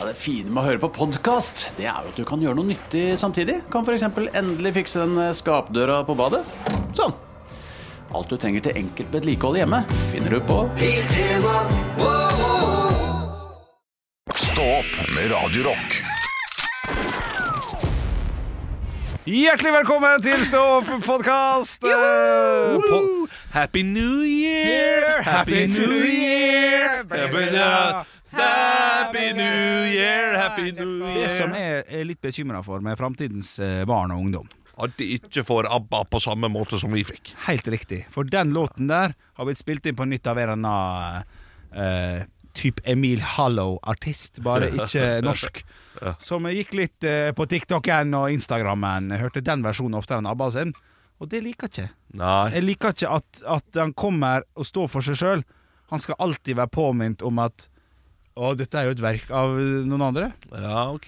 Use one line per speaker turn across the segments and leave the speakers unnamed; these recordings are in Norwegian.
Ja, det fine med å høre på podkast, det er jo at du kan gjøre noe nyttig samtidig. Kan f.eks. endelig fikse den eh, skapdøra på badet. Sånn. Alt du trenger til enkelt vedlikehold hjemme, finner du på
Stå opp med Radio Rock.
Hjertelig velkommen til Stå opp-podkast! Happy New Year! Happy New Year! Happy New- Happy New Year! Happy New
Det som
Year!
jeg er litt bekymra for med framtidens eh, barn og ungdom.
At de ikke får ABBA på samme måte som vi fikk.
Helt riktig. For den låten der har blitt spilt inn på nytt av en eller annen eh, type Emil Hallow-artist, bare ikke norsk. Som gikk litt eh, på TikTok-en og Instagram-en. Jeg Hørte den versjonen oftere enn ABBA sin. Og det liker jeg ikke.
Nei.
Jeg liker ikke at, at han kommer og står for seg sjøl. Han skal alltid være påminnet om at Å, dette er jo et verk av noen andre.
Ja, ok.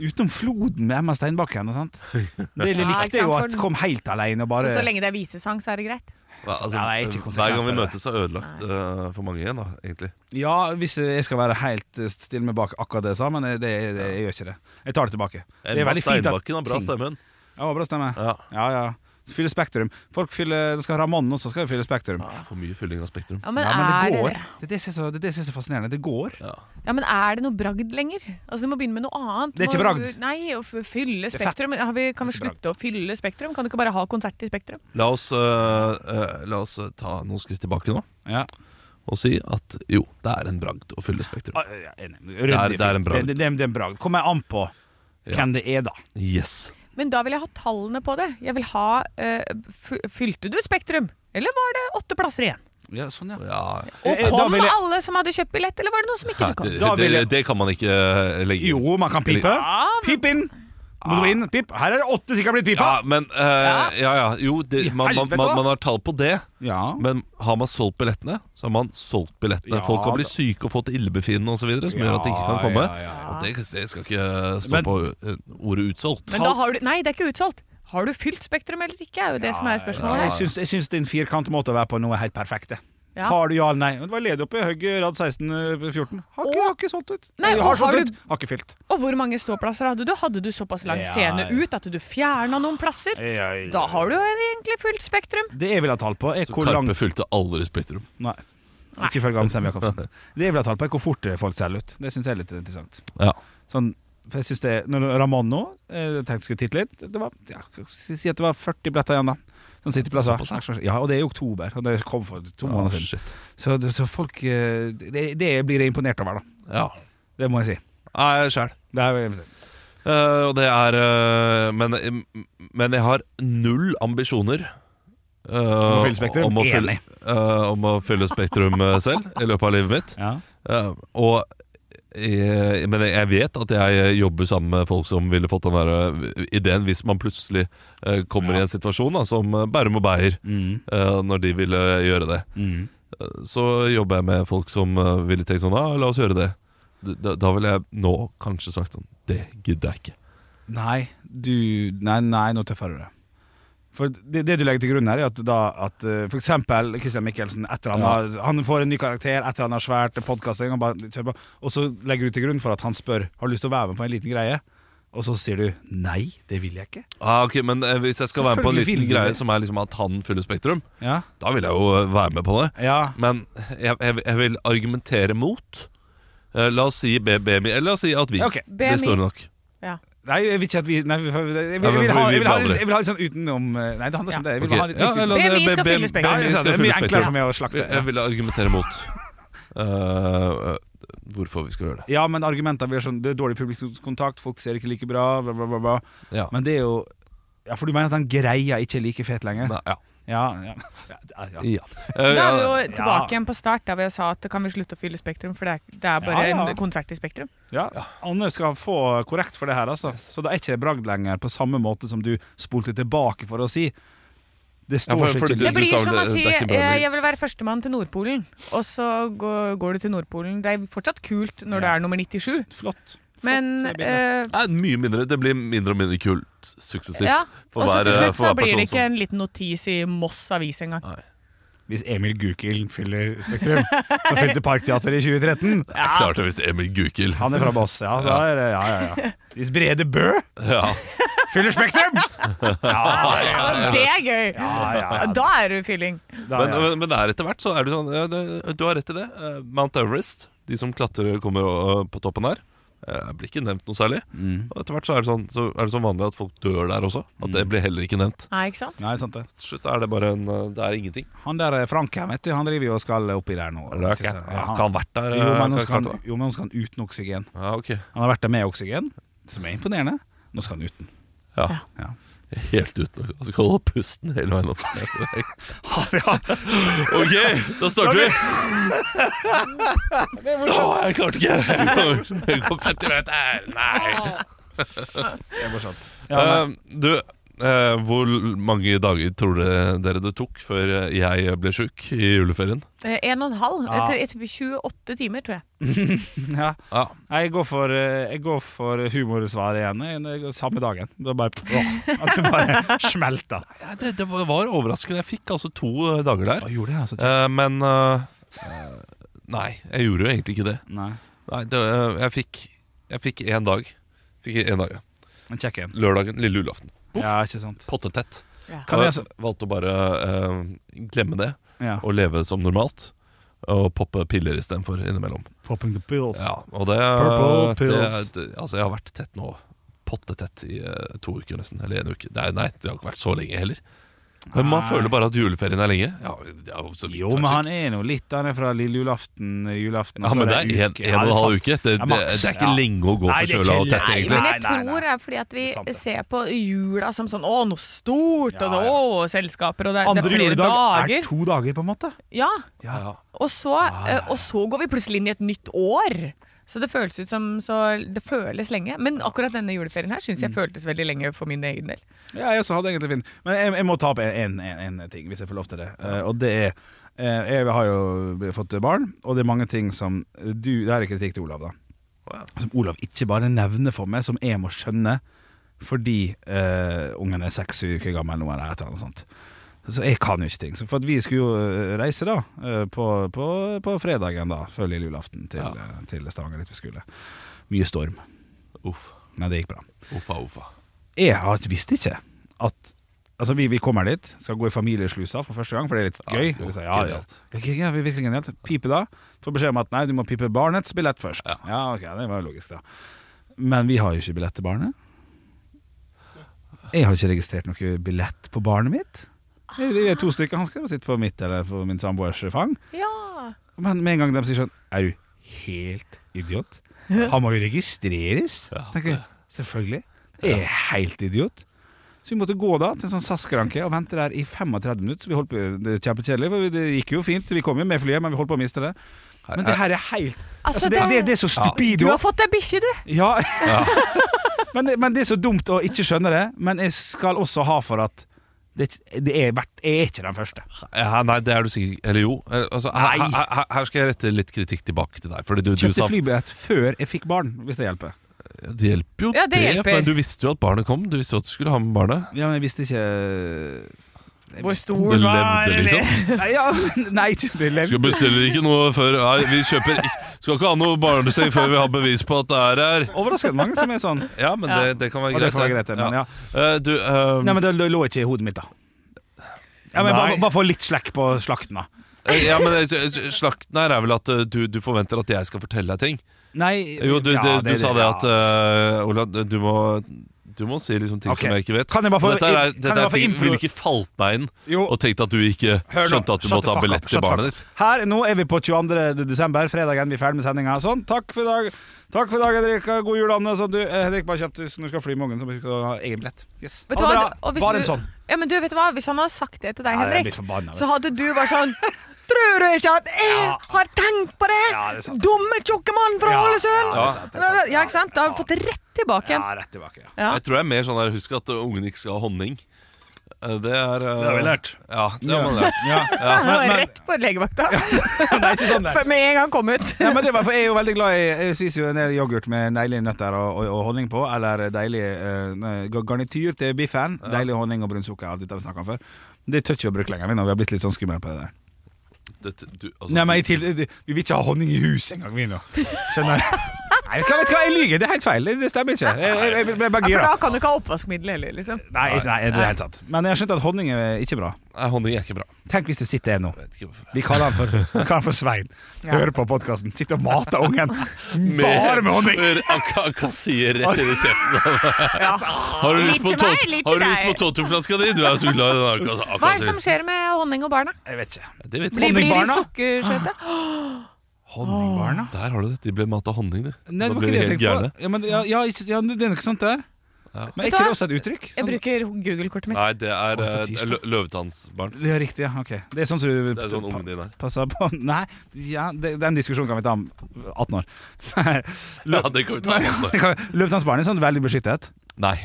Utenom floden med Emma Steinbakken. og Sant? Det
Ja, ikke
likte jeg
sant,
jo
for
at
den-
kom helt alene og bare
Så så lenge det er visesang, så er det greit.
Hva, altså,
Ja, det er ikke konsekvent,
hver gang vi
det.
møtes, er ødelagt eh, for mange igjen, da, egentlig.
Ja, hvis jeg skal være helt eh, stille med bak akkurat det jeg sa, men det, det, det, jeg gjør ikke det. Jeg tar det tilbake. det
Emma Steinbakken har bra
ting-
stemme. hun.
Ja, bra stemme.
Ja.
Ja, ja. Fylle Spektrum. Folk fyller, skal ha Ramon også, skal jo fylle Spektrum. Ja,
Ah, For mye fylling av Spektrum.
Ja, men,
men
er
det går.
det,
Det er det som er så- det er det som er så fascinerende. Det går.
Ja.
ja, men er det noe bragd lenger? Altså Du må begynne med noe annet.
Det er
Du
ikke
må-
bragd.
Nei, å f- fylle
er fett.
Spektrum. Har vi, kan vi
Det er ikke
slutte å fylle Spektrum? Kan du ikke bare ha konsert i Spektrum?
La oss, eh, eh, la oss eh, ta noen skritt tilbake nå
Ja.
og si at jo, det er en bragd å fylle Spektrum.
Ah, ja, enig. Ryddig
er- det er en
fyr.
bragd.
Det, det, det er en bragd. Kommer an på hvem det er, da.
Yes.
Men da vil jeg ha tallene på det. Jeg vil ha eh, f- Fylte du Spektrum? Eller var det åtte plasser igjen?
Ja, sånn, ja.
Ja,
Og
Eh, eh, da
kom
vil jeg-
alle som hadde kjøpt billett, eller var det noen som ikke
Nei,
kom?
det,
Da vil
det,
jeg-
det kan man ikke eh, legge inn.
Jo, man kan pipe.
Ja, men-
Pip inn! Må du inn? Pip. Her er det åtte som ikke har blitt pipa!
Ja, men eh, Ja, ja. Jo, det,
I
man, man,
helvete,
man,
da.
man har tall på det.
Ja.
Men har man solgt billettene, så har man solgt billettene.
Ja,
Folk kan bli
da.
syke og fått illebefinnende osv., som gjør at de ikke kan
Ja,
komme.
ja, ja.
Og det, det skal ikke stå
Men-
på eh, ordet 'utsolgt'.
Men da har du Nei, det er ikke utsolgt. Har du fylt Spektrum eller ikke, er jo det som er spørsmålet her.
Jeg syns, jeg syns din firkantmåte å være på nå er helt perfekt. det.
Ja.
Har du ja eller nei? Men Det var ledig oppe i Høgge rad 16-14. Har, ikke-
Og-
har ikke solgt ut.
Nei,
Jeg
og
har,
har
solgt
du-
ut. har ikke fylt.
Og hvor mange ståplasser hadde du? Hadde du såpass lang
Ja,
scene
ja.
ut at du fjerna noen plasser? Da har du jo egentlig fullt Spektrum.
Det jeg vil ha tall på, er hvor
Karpe
langt
fylte aldri Spektrum.
Nei. Ikke ifølge Anselm Jacobsen. Det jeg vil ha tall på, er hvor fort folk selger ut. Det syns jeg er litt interessant.
Ja.
Sånn, for jeg synes det når Ramón nå eh, Jeg tenkte jeg skulle titte litt. Det var, ja, si si at det var 40 billetter igjen, da. Sånn sitteplasser. Ja, og det er i oktober. Og det kom for to
Ah,
måneder siden.
shit.
Så, så folk eh, det, det blir jeg imponert over, da.
Ja.
Det må jeg si.
Nei, sjæl.
Det er,
Eh, og det er eh, men, men jeg har null ambisjoner eh, om
å fylle Spektrum?
å fylle-
Enig.
eh, om å fylle Spektrum eh, selv i løpet av livet mitt.
ja.
Eh, og jeg, men jeg vet at jeg eh, jobber sammen med folk som ville fått den der eh, ideen hvis man plutselig eh, kommer i en situasjon da, som eh, Bærum og Beyer,
Mm,
eh, når de ville gjøre det. Eh, så jobber jeg med folk som eh, ville tenkt sånn ah, la oss gjøre det. Da, da ville jeg nå kanskje sagt sånn Det gidder jeg ikke.
Nei, du Nei, nei, nå tøffer du det. For det, det du legger til grunn her, er at da at eh, for eksempel Christian Michelsen et eller annet, Han får en ny karakter, et eller annet svært podkasting, og så legger du til grunn for at han spør Har du lyst til å være med på en liten greie. Og så sier du nei, det vil jeg ikke.
Ah, ok, Men eh, hvis jeg skal være med på en
Selvfølgelig
liten
vil du
greie
det.
som er liksom at han fyller Spektrum,
Ja,
da vil jeg jo eh, være med på det.
ja.
Men jeg, jeg, jeg vil argumentere mot. Eh, La oss si BMI, eller la oss si at vi.
Ok.
Det
BMI.
står det nok.
Ja.
Nei, jeg vil ikke at vi Nei, vi- jeg vil, jeg vil,
Ja, men vi-
ha,
vi
jeg vil, ha,
blader.
jeg vil ha litt sånn utenom eh, Nei, det handler ikke om det. Jeg vil
Ok.
ha litt
Ja,
litt
la oss-
utenom.
BMI
eh,
skal
BMI
fylle
BMI
Spektrum.
Ja, jeg sa
skal
det er
fylle
mye enklere
Spektrum.
for meg å slakte.
Jeg
Ja,
vil argumentere mot eh, hvorfor vi skal gjøre det.
ja men argumenter blir sånn Det er dårlig publikumskontakt, folk ser ikke like bra, bla, bla, bla. bla.
Ja.
Men det er jo Ja, for du mener at den greia ikke er like fet lenger?
Nei, ja.
Ja, ja. ja, ja.
ja. Eh,
Da er vi jo
ja.
tilbake igjen på start, der vi sa at kan vi slutte å fylle Spektrum, for det er, det er bare
Ja, ja.
en konsert i Spektrum.
ja. Anne skal få korrekt for det her, altså. Så det er ikke bragd lenger, på samme måte som du spolte tilbake for å si. Det
Ja, for-
står seg
for
ikke
du-
Det
likt.
blir
sa vel
som å
det-
si
det er ikke bra,
eh,
men-
'jeg vil være førstemann til Nordpolen', og så går, går du til Nordpolen. Det er fortsatt kult når du
Ja.
er nummer 97,
Flott.
men
det er
Nei,
eh,
mye mindre. Det blir mindre og mindre kult suksessivt.
ja.
for
Og så
hver- eh,
til slutt
for
så
hver
blir
person
det ikke en liten notis i Moss Avis engang.
Nei.
hvis Emil Gukild fyller Spektrum, som fylte Parkteatret i 2013.
Det er klart det hvis Emil Gukild
Han er fra Moss, ja. Da er, det- ja, ja, ja. Hvis Brede Bø
ja.
fyller Spektrum! Ja, ja,
Ja, det er gøy!
ja, ja.
Da er du fylling.
Da,
Men,
ja.
men, men der etter hvert så er det sånn ja, det, Du har rett i det. Eh, Mount Everest, de som klatrer, kommer eh, på toppen her. eh, blir ikke nevnt noe særlig.
Mm.
Og etter hvert så er, det sånn, så er det sånn vanlig at folk dør der også. At
Mm.
det blir heller ikke nevnt.
Nei, ikke sant?
Nei, sant det.
Til slutt er det bare en eh, Det er ingenting.
Han der eh, Frank her, vet du, han driver jo og skal oppi der nå.
Det er ikke, jeg har
Ja,
ikke
han-
han vært der?
Jo,
eh,
men nå
kan-
skal han,
kan-
jo, men nå skal han uten oksygen.
Ja, ok
Han har vært der med oksygen, som er imponerende. Nå skal han uten.
ja.
Ja.
Helt uten Han skal holde pusten hele veien opp. ok, da starter vi. Å, jeg klarte ikke! Det går 50 meter! Nei!
Det er morsomt.
Eh, du, eh, hvor mange dager tror dere, dere det tok før eh, jeg ble sjuk i juleferien?
Eh, En og en halv.
Ja.
Etter, etter 28 timer, tror jeg.
Ja.
Ja,
Nei, Jeg går for, eh, jeg går for humorsvar igjen. Jeg- jeg går Samme dagen. Det bare, åh, at det bare smelter.
det, det var var overraskende. Jeg fikk altså to eh, dager der.
gjorde jeg altså?
Eh, men eh, eh, Nei, jeg gjorde jo egentlig ikke det.
Nei,
Nei, det, eh, jeg fikk Jeg fikk én dag. Fikk én dag, ja.
men kjekk en.
Lørdagen, lille julaften. Poff.
Ja, ikke sant.
Pottetett.
Ja.
Kan jeg
jeg
så-
valgte å bare eh, glemme det
Ja.
og leve som normalt. Og poppe piller istedenfor innimellom.
Popping the pills.
Ja, og det,
Purple pills.
det, det Altså, jeg har vært tett nå. Pottetett i eh, to uker nesten. Eller en uke. Det er, nei, det har ikke vært så lenge heller. Men man
Nei.
føler bare at juleferien er lenge. Ja, det er jo så vidt
Jo,
vært
men han
syk.
er nå litt Han er fra lille julaften, eh, julaften og
ja,
så
men det er en, en
uke. Ja,
og en
altså, det er
halv uke.
sant.
Det,
Ja,
det, det
maks.
er ikke
Ja.
lenge å gå
Nei, det er
forkjøla
ikke
og tett,
lenge.
egentlig.
Men
Nei,
jeg
nei, nei.
tror det er fordi at vi
Det er sant, det.
ser på jula som sånn Å, noe stort!
Ja,
Og det, å, selskaper! Og det, er- det
Andre
er flere
juledag er
dager.
to dager, på en måte.
Ja,
Ja, ja.
og så, eh, og så går vi plutselig inn i et nytt år. Så det føles ut som så Det føles lenge. Men akkurat denne juleferien her syns jeg
Mm.
føltes veldig lenge for min egen del.
Ja, jeg også hadde egentlig fin. Men jeg, jeg må ta opp en, en, en ting, hvis jeg får lov til det. Eh, og det er eh, Jeg har jo fått barn, og det er mange ting som du Det her er kritikk til Olav, da. som Olav ikke bare nevner for meg, som jeg må skjønne fordi eh, ungen er seks uker gammel nå, eller et eller annet sånt. Så jeg kan jo ikke ting. Så for at vi skulle jo eh, reise da, eh, på, på, på fredagen da, før lille julaften til,
Ja.
eh, til Stavanger dit vi skulle. Mye storm.
Uff.
Men det gikk bra.
Uffa, uffa.
Jeg har ikke- visste ikke at Altså vi, vi kommer dit, skal gå i familieslusa for første gang, for det er litt
Ja,
gøy.
jo,
Vi sier, ja, ja.
genialt.
Ja, ja, ja, vi er virkelig genialt. Pipe da. Får beskjed om at nei, du må pipe barnets billett først. Ja, ok, det var jo logisk, da. Men vi har jo ikke billett til barnet. Jeg har ikke registrert noe billett på barnet mitt. Vi vi er to stykker, han skal jo sitte på mitt eller på min samboers fang.
Ja.
Men med en gang de sier sånn Er du helt idiot? Han må jo registreres Tenker jeg, selvfølgelig Jeg er helt idiot Så vi måtte gå da til en sånn SAS-skranke Og vente der i 35 minutter Så vi holdt på, det er kjempekjedelig for Det gikk jo fint, vi kom jo med flyet Men vi holdt på å miste det Men det her er helt
Altså,
altså, det, det,
det-
det er så
Du
stupido
har fått deg bikkje, du!
ja. men, det, men det er så dumt å ikke skjønne det Men jeg skal også ha for at det, det er, verdt- jeg er ikke den første
Ja, nei, det er du sikkert ikke. Eller jo. Eh, Altså, her,
Nei.
her, her- her skal jeg rette litt kritikk tilbake til deg. Fordi du, du
Kjøpte
sa
flybillett før jeg fikk barn Hvis det hjelper
Det hjelper jo,
Ja, det hjelper.
Men du visste jo at barnet kom. Du visste jo at du skulle ha med barnet.
Ja, men jeg visste ikke
Hvor
Du
stor var
levde, liksom.
Nei, ja, nei ikke- det levde
Skal bestille ikke noe før Nei, vi kjøper ikke- Skal ikke ha noe barneseng før vi har bevis på at det er her.
Overraskende mange som er sånn.
Ja, men
Ja.
Det, det kan være
Og det
greit.
får være greit, det, men ja.
Eh, Du, eh,
Nei, men det lå ikke i hodet mitt, da. Ja, men
Nei.
bare, bare få litt slekk på slakten, da.
eh, ja, men eh, slakten her er vel at eh, du, du forventer at jeg skal fortelle deg ting.
Nei
Jo, du,
ja,
du, du sa det at
ja.
eh, Ola, du må du må si liksom ting
Ok.
som jeg ikke vet.
Kan jeg bare få-
Men dette er,
kan jeg
dette
bare
er
få
ting
impro-
ville ikke falt deg inn
Jo.
og tenkt at du ikke
Hør nå,
skjønte at du
shut
måtte ha
the fuck
billett
up,
til
shut the fuck
barnet
up.
ditt.
Her, Nå er vi på 22. desember, fredagen. Vi er ferdig med sendinga. Sånn, takk for i dag. Takk for i dag, Henrik. God jul, Anne. Sånn, du, eh, Henrik, bare kjapt, du skal fly i morgen, så vi skal ha egen billett. Yes.
Vet
Ha
du
det
hva,
bra.
og hvis
Bare
du-
en sånn.
Ja, men du vet du hva, Hvis han hadde sagt det til deg,
Ja, jeg
Henrik,
blir forbanna, vet du.
så hadde du vært sånn Tror du ikke at jeg har tenkt på det?!
Ja, det er sant.
Dumme tjukke mann fra
Ja,
Ålesund!
ja, det er sant, det er sant.
Ja, ikke sant? Da har vi fått det rett tilbake igjen.
Ja, rett tilbake. Ja.
Ja.
Jeg tror jeg er mer sånn der Husk at uh, ungen ikke skal ha honning. Uh, Det er uh, Det
har vi lært.
Ja, det har man lært.
Ja.
Han var
men-
rett på legevakta
Det er ikke sånn det er.
For med en gang han kom ut.
Ja, men det var, for jeg er jo veldig glad i Jeg spiser jo en del yoghurt med deilige nøtter og, og, og honning på, eller deilig eh, nei, ga- garnityr til biffen. Deilig honning og brunt sukker, alt dette har vi snakket om før. Det tør ikke vi å bruke lenger, vi nå. Vi har blitt litt sånn skumle på det der.
det, du, altså,
Nei, men i til, Vi vil ikke ha honning i huset engang, vi nå. Skjønner du? Nei, vet du hva, vet du hva, jeg lyver. Det er helt feil. Det stemmer ikke. Jeg, jeg, jeg ble
Ja,
bare
for
gira.
da kan du ikke ha oppvaskmiddel heller, liksom.
Nei, nei, det er helt sant. Men jeg har skjønt at honning er ikke bra.
Nei, honning er ikke bra.
Tenk hvis det sitter en nå.
Jeg vet ikke hvorfor.
Vi kaller han for, vi kaller han for Svein.
Ja.
Hører på podkasten. Sitter og mater ungen bare med honning.
Akassier rett inn i kjeften. Har du lyst
Litt
på,
til
tot-
meg, litt
har
til
du lyst
deg.
på totoflaska di? Du er jo så glad i den akassi-
Hva er det som
akassier.
skjer med honning og barna?
Jeg vet ikke.
Det vet
Blir,
jeg.
blir de
Honningbarna?
sukkersøte?
Honningbarna?
Der har du det. De ble mata honning, de.
Nei,
Da
det var
ble de
ikke det jeg
helt
tenkte
gærne.
på. Ja, men, ja, ja, ikke- ja, det er noe sånt der. Men er
Vet du
ikke det
hva?
også et uttrykk?
Jeg bruker Google-kortet mitt.
Nei, det er
Å,
eh,
på tirsdag.
lø løvetannsbarn.
Ja, riktig. ja, ok Det er sånn som du
Det er sånn ungen din er.
passer på Nei, ja, det, den diskusjonen kan vi ta om 18 år.
Ja, det kan vi ta. om det.
Løvtannsbarn er sånn veldig beskyttet.
Nei.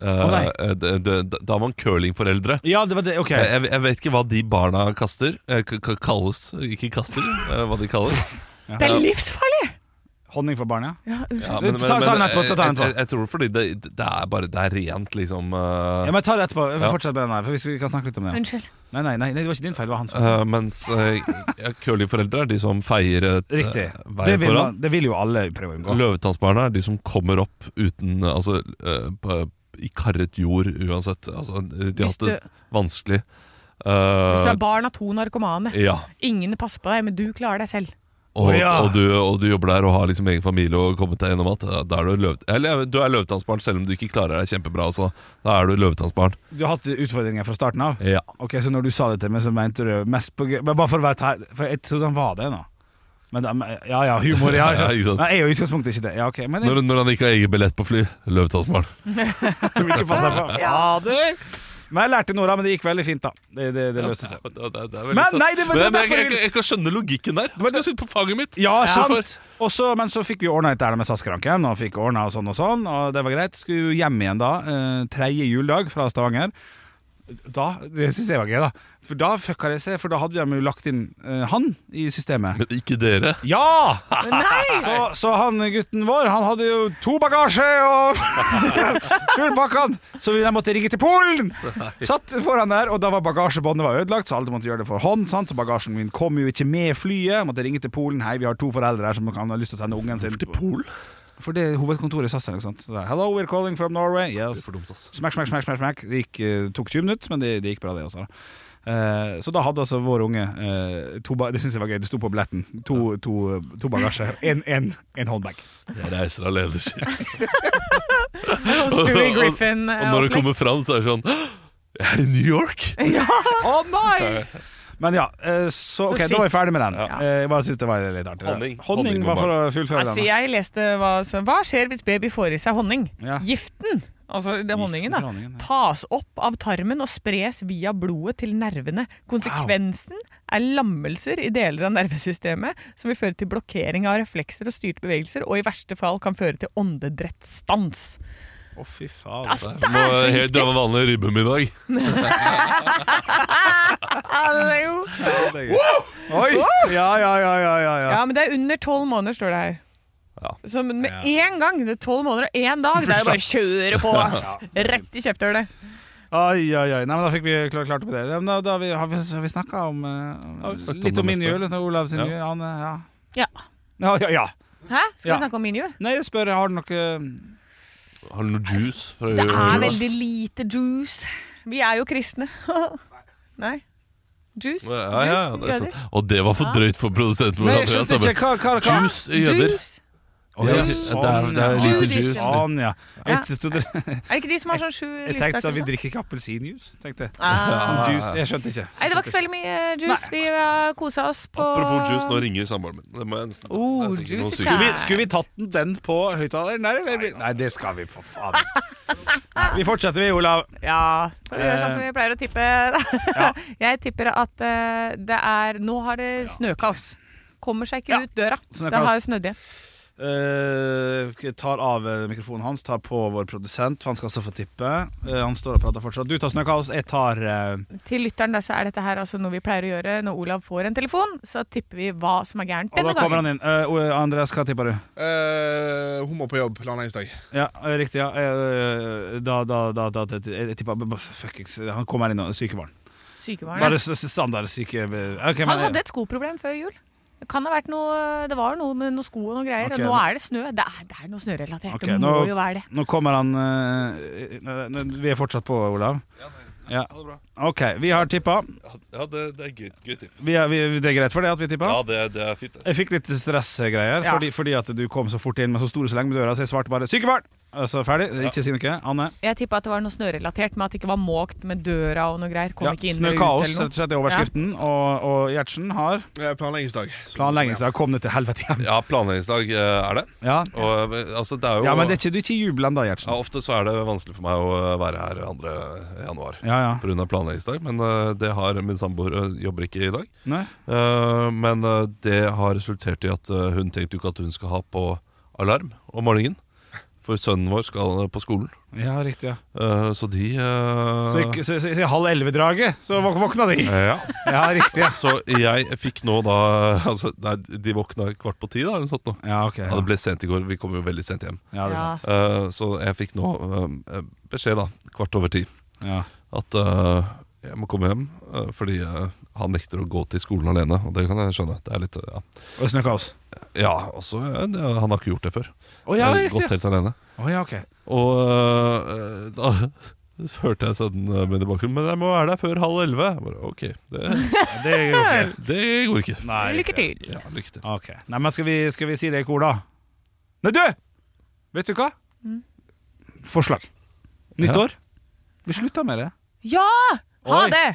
Eh,
nei.
eh, det- det- Da er man curlingforeldre.
Ja, det var det. Ok.
Jeg, jeg- jeg vet ikke hva de barna kaster. eh, k- k- Kalles Ikke kaster, eh, hva de kalles.
Det er livsfarlig!
Honning for barn, ja.
Ja, unnskyld.
Ja,
Ta- ta den etterpå, ta den etterpå.
jeg, jeg, jeg tror fordi det, det er bare Det er rent, liksom. eh,
Ja, men Ta det etterpå. Vi
Ja.
fortsetter med den her. For hvis vi kan snakke litt om det
Unnskyld.
Nei, nei, nei, nei, det var ikke din feil. Det var hans feil.
eh, mens uh, ja, curlingforeldre er de som feier eh,
Riktig. Det
veien
vil,
foran.
man, det vil jo alle prøve å unngå.
Løvetannsbarna er de som kommer opp uten eh, Altså eh, på- i karret jord uansett. Altså, de har
Hvis
hatt det
du-
vanskelig.
Hvis du
Eh,
er barn av to narkomane,
ja.
ingen passer på deg, men du klarer deg selv.
Og,
Å, ja.
og, du, og du jobber der og har liksom egen familie og kommet deg gjennom at eh, da er du, løv, eller, du er løvetannsbarn selv om du ikke klarer deg kjempebra. Altså. Da er du løvetannsbarn.
Du har hatt utfordringer fra starten av?
Ja.
Ok, Så når du sa det til meg, så mente du mest på gøy Men Bare for å være tær, for jeg trodde han var det nå. Men, da- men- ja ja, humor. Ja,
Ja, ikke sant.
Men jeg er jo i utgangspunktet ikke det. Ja, ok, Men jeg
Når, når han ikke har egen billett på fly. Løvetannsbarn.
vil ikke passe på. Fader! Men jeg lærte noe, da. Men det gikk veldig fint, da. Det, det, det løste seg.
Det- det- det er veldig
altså. Men
sant.
nei, det- vet du,
Men jeg,
derfor-
jeg, jeg, jeg kan skjønne logikken der. Han skal sitte på faget mitt.
Ja,
Så for-
sant! Også, men så fikk vi ordna dette her med SAS-kranken, og fikk ordnet og sånn og sånn, og det var greit. Skulle jo hjem igjen da, eh, tredje juledag fra Stavanger. Da, Det syns jeg var gøy, da. For da fucka det seg, for da hadde de jo lagt inn eh, han i systemet.
Men ikke dere.
Ja!
Nei!
Så, så han gutten vår, han hadde jo to bagasje og fullpakkan! Så vi måtte ringe til Polen! Satt foran der, og da var bagasjebåndet var ødelagt, så alle måtte gjøre det for hånd. Sant? Så bagasjen min kom jo ikke med flyet. Måtte ringe til Polen. Hei, vi har to foreldre her som kan ha lyst til å sende ungen sin til Polen. For det er hovedkontoret i SAS her, ikke sant. Så der, Hello, we're calling from Norway. Yes.
For dumt, ass.
Smack, smack, smack, smack, smack. Det gikk, eh, tok 20 minutter, men det, det gikk bra, det også. Da. Eh, så da hadde altså vår unge eh, to ba Det syns jeg var gøy. Det sto på billetten. To, to, to bagasje. En, en, en håndbag.
Jeg reiser alene. shit.
Stewie
Og-
Griffin.
Og når det kommer fram, så er det sånn Jeg er i New York!
Å nei! Men ja, eh, så
Så
ok,
sitt-
da var jeg ferdig med den.
Ja.
Eh, jeg bare syntes det var litt artig.
Honning. Honning
Honning var for å fullføre
Altså,
den. da.
jeg leste hva som Hva skjer hvis baby får i seg honning?
Ja.
Giften, altså det honningen,
fra
da,
honningen, ja.
tas opp av tarmen og spres via blodet til nervene. Konsekvensen er lammelser i deler av nervesystemet, som vil føre til blokkering av reflekser og styrte bevegelser, og i verste fall kan føre til åndedrettsstans.
Å, fy faen.
Altså,
Jeg
det er så
Må helt
giftig!
dra med vanlig ribbemiddag.
Ja, det er jo-
Oi! Ja, ja, ja, ja, ja, ja.
Ja, men det er under tolv måneder, står det her.
Ja.
Så med med
Ja.
én gang! Det er tolv måneder og én dag. Det er jo bare å kjøre på, ass! Rett i kjefthølet.
Ai, ai, ai. Nei, men da fikk vi klar, klart opp i det. Ja, men Da, da har vi, har vi, har vi snakka om, eh, om-
Har vi snakket
litt
om det
om min
meste?
jul. og Olav sin
Ja.
jul. Han, eh, ja.
Ja.
Ja, ja, ja.
Hæ? Skal
Ja.
vi snakke om min jul?
Nei, jeg spør, har du noe
Har du noe juice? Fra
Øh.
Det er veldig lite juice. Vi er jo kristne. Nei. Juice?
ja, ja, ja, det er
jøder.
sant. Og det var for drøyt for produsenten
Nei,
vår.
jeg
Andreas. altså.
skjønte ikke hva, hva, hva?
Juice jøder.
Juice.
Å, ja,
Ja, det er- det er
lite
Sånn, ja.
juice.
Sånn, ja.
Ja.
Jeg, trodde-
Er det ikke de som har sånn sju
jeg tenkte
lysstaker?
sånn, vi
og sånn?
drikker ikke appelsinjuice, tenkte jeg.
Ah.
Juice, jeg skjønte ikke.
Nei, det var ikke så veldig mye juice. Vi har kosa oss på
Apropos juice, nå ringer samboeren min. Det må jeg nesten ta.
Oh,
Det er sikkert
juice
noe
is
sikkert.
Skulle vi, skulle vi tatt den, den på høyttaleren der, eller? Nei, det skal vi, for faen. Nei, Vi fortsetter, vi, Olav.
Ja. Vi gjør sånn
Eh,
som vi pleier å tippe. Jeg tipper at eh, det er Nå har det snøkaos. Kommer seg ikke
Ja.
ut døra.
Snøkaos.
Det har snødd igjen.
Eh, tar av eh, mikrofonen hans, tar på vår produsent. Han skal også få tippe. Eh, han står og prater fortsatt. Du tar snøkaos, jeg tar eh,
Til lytteren da, så er dette her altså noe vi pleier å gjøre når Olav får en telefon. Så tipper vi hva som er gærent
Og da
denne
kommer
gangen.
han inn. Eh, Ole- Andreas, hva tipper du?
Eh, hun må på jobb landeisdag.
Ja, eh, riktig. ja Eh, Da, da, da, da, da Jeg tipper Fuckings, han kommer her inn og sykebarn.
Sykepleieren.
Bare s- s- standard syke... eh, ok, men-
Han hadde et skoproblem før jul. Det Kan ha vært noe, det var noe med noe sko og noe greier.
Ok,
og nå
nå-
er det snø. Det er, det er noe snørelatert.
Ok,
det må
nå-
jo være det.
Nå kommer han eh, eh, eh, Vi er fortsatt på, Olav. Ja. OK, vi har tippa.
Ja, det, er gøy,
Vi er, vi, det er greit for det at vi tippa?
Ja, det, er fint.
Jeg fikk litt stressgreier
Ja.
fordi, fordi at du kom så fort inn med så store sleng med døra, så jeg svarte bare 'sykebarn'! Og så ferdig. Ikke si noe. Anne?
Jeg tippa at det var noe snørelatert, men at det ikke var måkt med døra og noe greier. Kom
Ja,
ikke inn eller ut
Snøkaos,
eller
rett og
noe.
slett, er overskriften. Og, og Gjertsen har
Eh, Planleggingsdag. Så-
planleggelse. Kom det til helvete igjen?
Ja, planleggingsdag eh, er det.
Ja.
Og eh, altså, det er jo
ja, men det er ikke, du er ikke i jubel ennå,
ja,
Gjertsen.
Ofte så er det vanskelig for meg å eh, være her 2. januar
Ja, ja.
pga. planleggingsdag, men eh, det har min samboer eh, jobber ikke i dag.
Nei?
Eh, Men eh, det har resultert i at eh, hun tenkte jo ikke at hun skal ha på alarm om morgenen. For sønnen vår skal eh, på skolen,
Ja, riktig. ja
Eh, så de eh,
Så, ikke- så, så, så, halv elleve-draget, så våk- våkna de.
eh, ja.
Ja, riktig. Ja,
Så jeg fikk nå da altså, Nei, de våkna kvart på ti, da, eller noe sånt. nå.
ja ok.
Ja, det ble sent i går. Vi kom jo veldig sent hjem.
Ja, det er
Ja.
sant.
Eh, så jeg fikk nå eh, beskjed, da, kvart over ti,
Ja.
at eh, jeg må komme hjem eh, fordi eh, han nekter å gå til skolen alene. Og det kan jeg skjønne. Det er litt, eh,
Og snøkaos.
ja. ja, også, eh, det- Han har ikke gjort det før.
Å ja,
Eh,
riktig.
Gått helt alene.
Å ja, ok.
Og eh, da hørte jeg sånn eh, med i bakgrunnen Men jeg må være der før halv elleve. Jeg Bare, ok, det,
Det er jo ok.
det går ikke.
Nei,
Lykke til.
Ja, lykke til.
Ok. Nei, men skal vi, skal vi si det i kor, da? Nei, du! Vet du hva? Forslag. Nytt
Ja.
år. Vi slutta med det.
Ja! Ha
Oi.
det!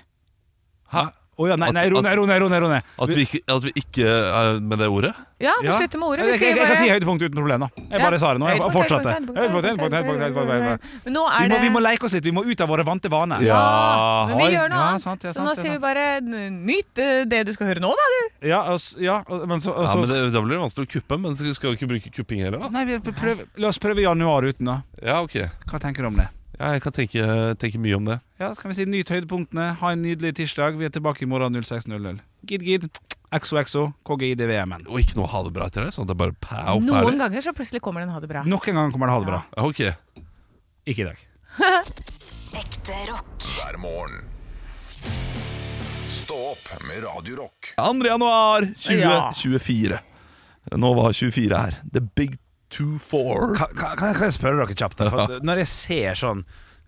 Hæ?
Å ja, nei,
At-
nei, ro
at-
ned, ro ned, ro ned. Ro ned.
At vi ikke, at vi ikke eh, med det ordet?
Ja, vi
Ja.
slutter med ordet.
Jeg,
Vi sier
jeg, jeg, jeg kan si
bare
høydepunkt uten problem, da. Jeg
Ja.
bare sa det nå. Jeg bare
Høydepunkt,
fortsatte.
høydepunkt,
Høydepunkt, høydepunkt, høydepunkt, høydepunkt, høydepunkt.
Men nå
Vi
er
må,
det
vi må leke oss litt. Vi må ut av våre vante vaner.
Ja.
Men vi gjør noe
Ja,
annet.
sant, ja,
så
sant,
nå
ja,
sier vi
sant.
bare n- nyt eh, det du skal høre nå, da, du.
Ja, og s- ja, og- men så, og
Ja,
så
men det, Da blir det vanskelig å kuppe, men skal skal vi ikke bruke kupping heller, da?
Nei, vi prøver, la oss prøve januar uten, da.
Ja, ok.
Hva tenker du om det?
Ja, jeg kan tenke, tenke mye om det.
Ja, så kan vi si Nyt høydepunktene. Ha en nydelig tirsdag. Vi er tilbake i morgen 06.00. Gid, gid. XOXO. KGIDVM-en.
Og ikke noe ha det bra til deg, sånn at det er bare pow,
Noen
ferdig.
ganger så plutselig kommer den ha det bra.
Nok en gang kommer det ha det bra.
Ja, Ok.
Ikke i dag.
Ekte rock.
hver morgen. Stå opp med Radio Rock.
2. januar
Ja.
2024. Nå var 24 her. The big 2-4.
Kan, kan, kan jeg spørre dere kjapt? da? For at, Når jeg ser sånn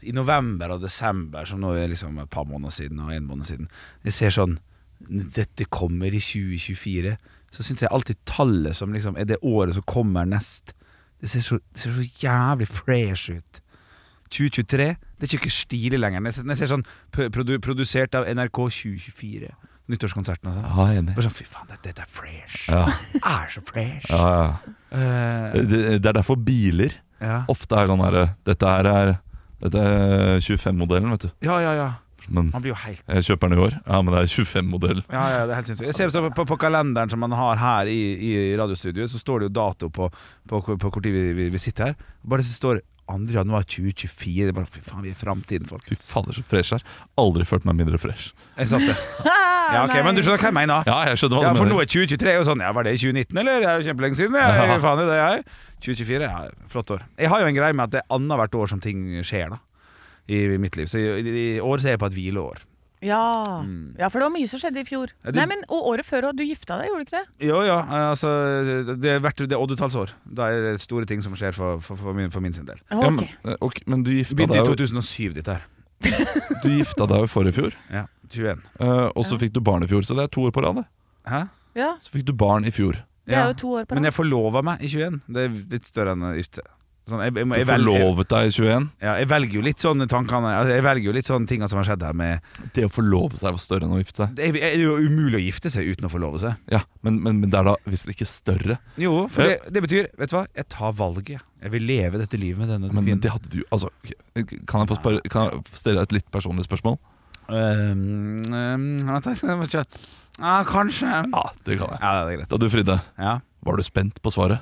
i november og desember, som nå er liksom et par måneder siden og en måned siden Jeg ser sånn Dette kommer i 2024. Så syns jeg alltid tallet som liksom er det året som kommer nest, det ser så, det ser så jævlig fresh ut. 2023 Det er ikke ikke stilig lenger. Når jeg ser- når jeg ser sånn p- produ, produsert av NRK 2024, nyttårskonserten og sånn.
Ja, jeg er enig.
Bare sånn, Fy faen, dette, dette er fresh.
Ja,
Det er så fresh.
ja, ja.
Eh,
Det, det er derfor biler
ja.
ofte er sånn herre Dette her er Dette er 25-modellen, vet du.
ja, ja, ja.
Men
Man blir jo helt
jeg kjøper den i år. Ja, men det er 25-modell.
Ja, ja, det er helt sinnssykt. Jeg ser også på, på kalenderen som man har her i, i radiostudioet, så står det jo dato på, på, på hvor tid vi, vi, vi sitter her. Bare så står 2. januar 2024. Det er bare, fy faen, vi er framtiden, folk.
Fy fader, så fresh jeg er. Aldri følt meg mindre fresh.
Jeg satt det. Ja, ok, men du skjønner hva jeg mener.
Ja, jeg skjønner hva
Ja,
du
for nå er
mener.
2023 jo sånn Ja, var det i 2019, eller? Det er jo kjempelenge siden. Jeg,
Ja.
faen, det er jeg. 2024 ja, flott år. Jeg har jo en greie med at det er annethvert år som ting skjer, da. I mitt liv. Så i, i år ser jeg på et hvileår. Mm.
Ja.
Mm.
ja, for det var mye som skjedde i fjor.
Ja, det-
Nei, men, Og året før òg. Du gifta deg, gjorde du ikke det?
Jo, ja. Altså, det er hvert- det er oddetallsår. Da er det store ting som skjer for, for, for, min, for min sin del.
Ja,
Ok.
men, eh, ok, men du gifta
Begynte i
deg jo
2007, dette her.
Du gifta deg jo forrige fjor,
Ja, 21.
eh, og så fikk du barn i fjor. Så det er to år på rad. det.
Hæ?
Ja,
Så fikk du barn i fjor.
Det
Ja.
er jo to år på
Men jeg
rad.
forlova meg i 21. Det er litt større enn gifte. Sånn, jeg, jeg,
Du
jeg, velger,
forlovet deg i 21.
ja, jeg velger jo litt sånne tankene altså, Jeg velger jo litt sånne tinga som har skjedd her med
Det å forlove seg var større enn å gifte seg.
Det er det er jo umulig å gifte seg uten å forlove seg.
Ja, Men, men, men det er da visst ikke større.
Jo, for det, det betyr Vet du hva? Jeg tar valget. Jeg vil leve dette livet med denne
Men
kvinnen.
det hadde du altså, ok, Kan jeg få spørre, kan jeg få stille deg et litt personlig spørsmål?
Øhm, øhm, Ehm, vent, jeg skal- jeg skal- Ja, kanskje
Ja, det kan jeg.
Ja, det er greit.
Da du fridde,
Ja.
var du spent på svaret?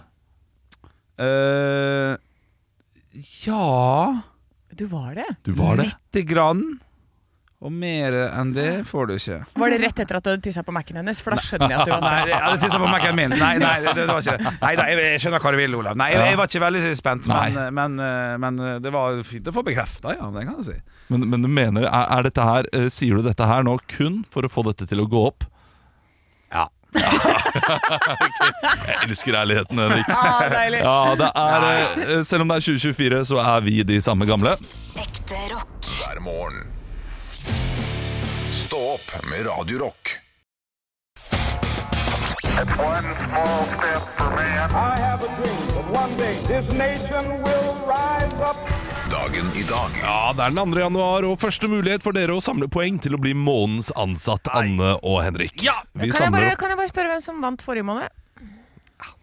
Eh, ja
Du var det?
Du var det.
Lite grann. Og mer enn det får du ikke.
Var det rett etter at du hadde tissa på Mac-en hennes? For da skjønner jeg at du var sånn
Nei, jeg hadde tisset på Mac-en min. Nei, nei, det, det var ikke det. Nei, nei, jeg skjønner hva du vil, Olav. Nei, jeg var ikke veldig spent, men, eh, men, men eh, det var fint å få bekrefta, ja. Det kan du si.
Men, men du mener, er, er dette her, eh, sier du dette her nå kun for å få dette til å gå opp?
Ja.
Ok. Jeg elsker ærligheten, Henrik.
Ah, deilig.
Ja, det er, eh, selv om det er 2024, så er vi de samme gamle.
Ekte rock.
hver morgen. Stå opp med Radio Rock.
I have a dream that one day this nation will rise up.
Dagen i dag
Ja, Det er den 2. januar, og første mulighet for dere å samle poeng til å bli månedens ansatt, Anne og Henrik. Ja, vi
Kan jeg,
samler
bare,
opp.
kan jeg bare spørre hvem som vant forrige måned?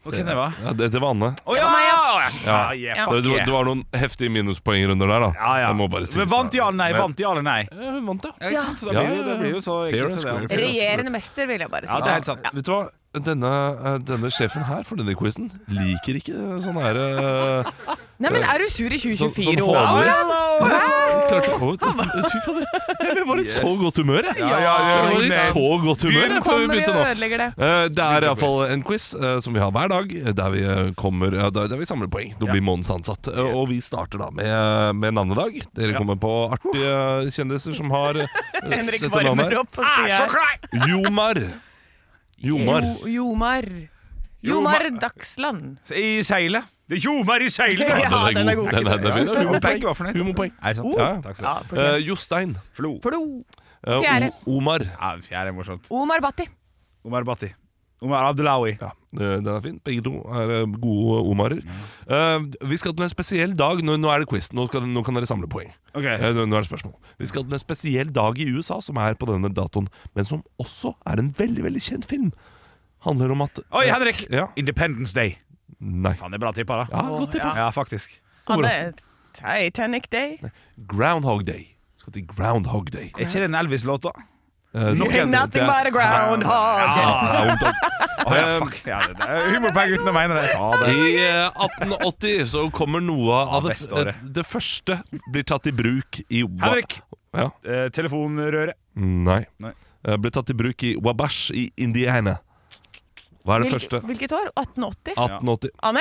Ok, det var
Ja, det, det var Anne.
Å ja! Ja,
Ja.
yeah,
Det,
fuck
det,
yeah.
var noen heftige minuspoenger under der, da.
Ja, ja.
Jeg må bare si
Men vant ja eller nei?
Men-
Vant ja eller nei?
Ja, hun vant, ja.
Ja, ikke sant? Så da
Ja,
blir det jo, det
ja,
blir jo så
Fair and
ekkelt. så det er-
square.
Regjerende mester, vil jeg bare si.
Ja, det er helt sant.
Vet du hva? Denne, eh, denne sjefen her for denne quizen liker ikke sånn her eh,
Nei, men er du sur i
Sånn,
2024
sånn
år?
håner. Klart- Å, Fy fader. Jeg var i så godt humør, jeg.
Ja, ja, ja,
Jeg var i
ja.
så godt humør jeg, før vi
Kommer vi
begynte
og
nå.
ødelegger det?
Eh, Det er iallfall en quiz eh, som vi har hver dag, eh, der vi, eh, kommer, ja, der der vi samler poeng. Da blir månedens ansatt. Eh, Og vi starter da med, med navnedag. Dere kommer på artige kjendiser som har eh,
Henrik
dette
varmer
navnet.
opp
Ah,
og sier
Jomar. Jomar.
Jo- Jomar. Jomar Dagsland.
I seilet. Det ljomer i seilet!
Ja, den er god.
Den er, den er, den er,
Og begge var fornøyd.
Humorpoeng.
Nei, sant.
Oh.
Ja, takk skal du ha.
Ja,
Eh,
fortell.
Jostein.
Flo.
Flo.
Eh,
Fjerde.
O- Omar.
Ja, fjerde er morsomt.
Omar Bhatti.
Omar Bhatti. Omar Abdelawi.
Ja, eh, den er fin. Begge to er eh, gode Omarer. Eh, vi skal til en spesiell dag. Nå, nå er det quiz. Nå, skal, nå kan dere samle poeng.
Ok.
Eh, nå, nå er det spørsmål. Vi skal til en spesiell dag i USA som er på denne datoen, men som også er en veldig veldig kjent film. Handler om at
Oi, Henrik!
Ja.
Independence Day.
Nei.
Faen, det er bra tippa, da.
Ja, godt tippa.
Ja, faktisk.
Anne Titanic Day.
Groundhog Day. Vi skal til Groundhog Day.
Er ikke det en Elvis-låt, da?
Eh, det-
Nothing
det er-
Nothing but a groundhog.
Groundhog.
Å, ja, fuck. Um, Ja, det det er humorpoeng uten å mene det. Ja, det.
I eh, 1880 så kommer noe av det,
beste året.
det første blir tatt i bruk i Wa-
Henrik!
Ja.
Eh, telefonrøret.
Nei.
Nei.
Eh, Ble tatt i bruk i Wabash i Indiana. Hva er det
Hvilket,
første? Ah.
hvilket år? 1880?
1880.
Anne.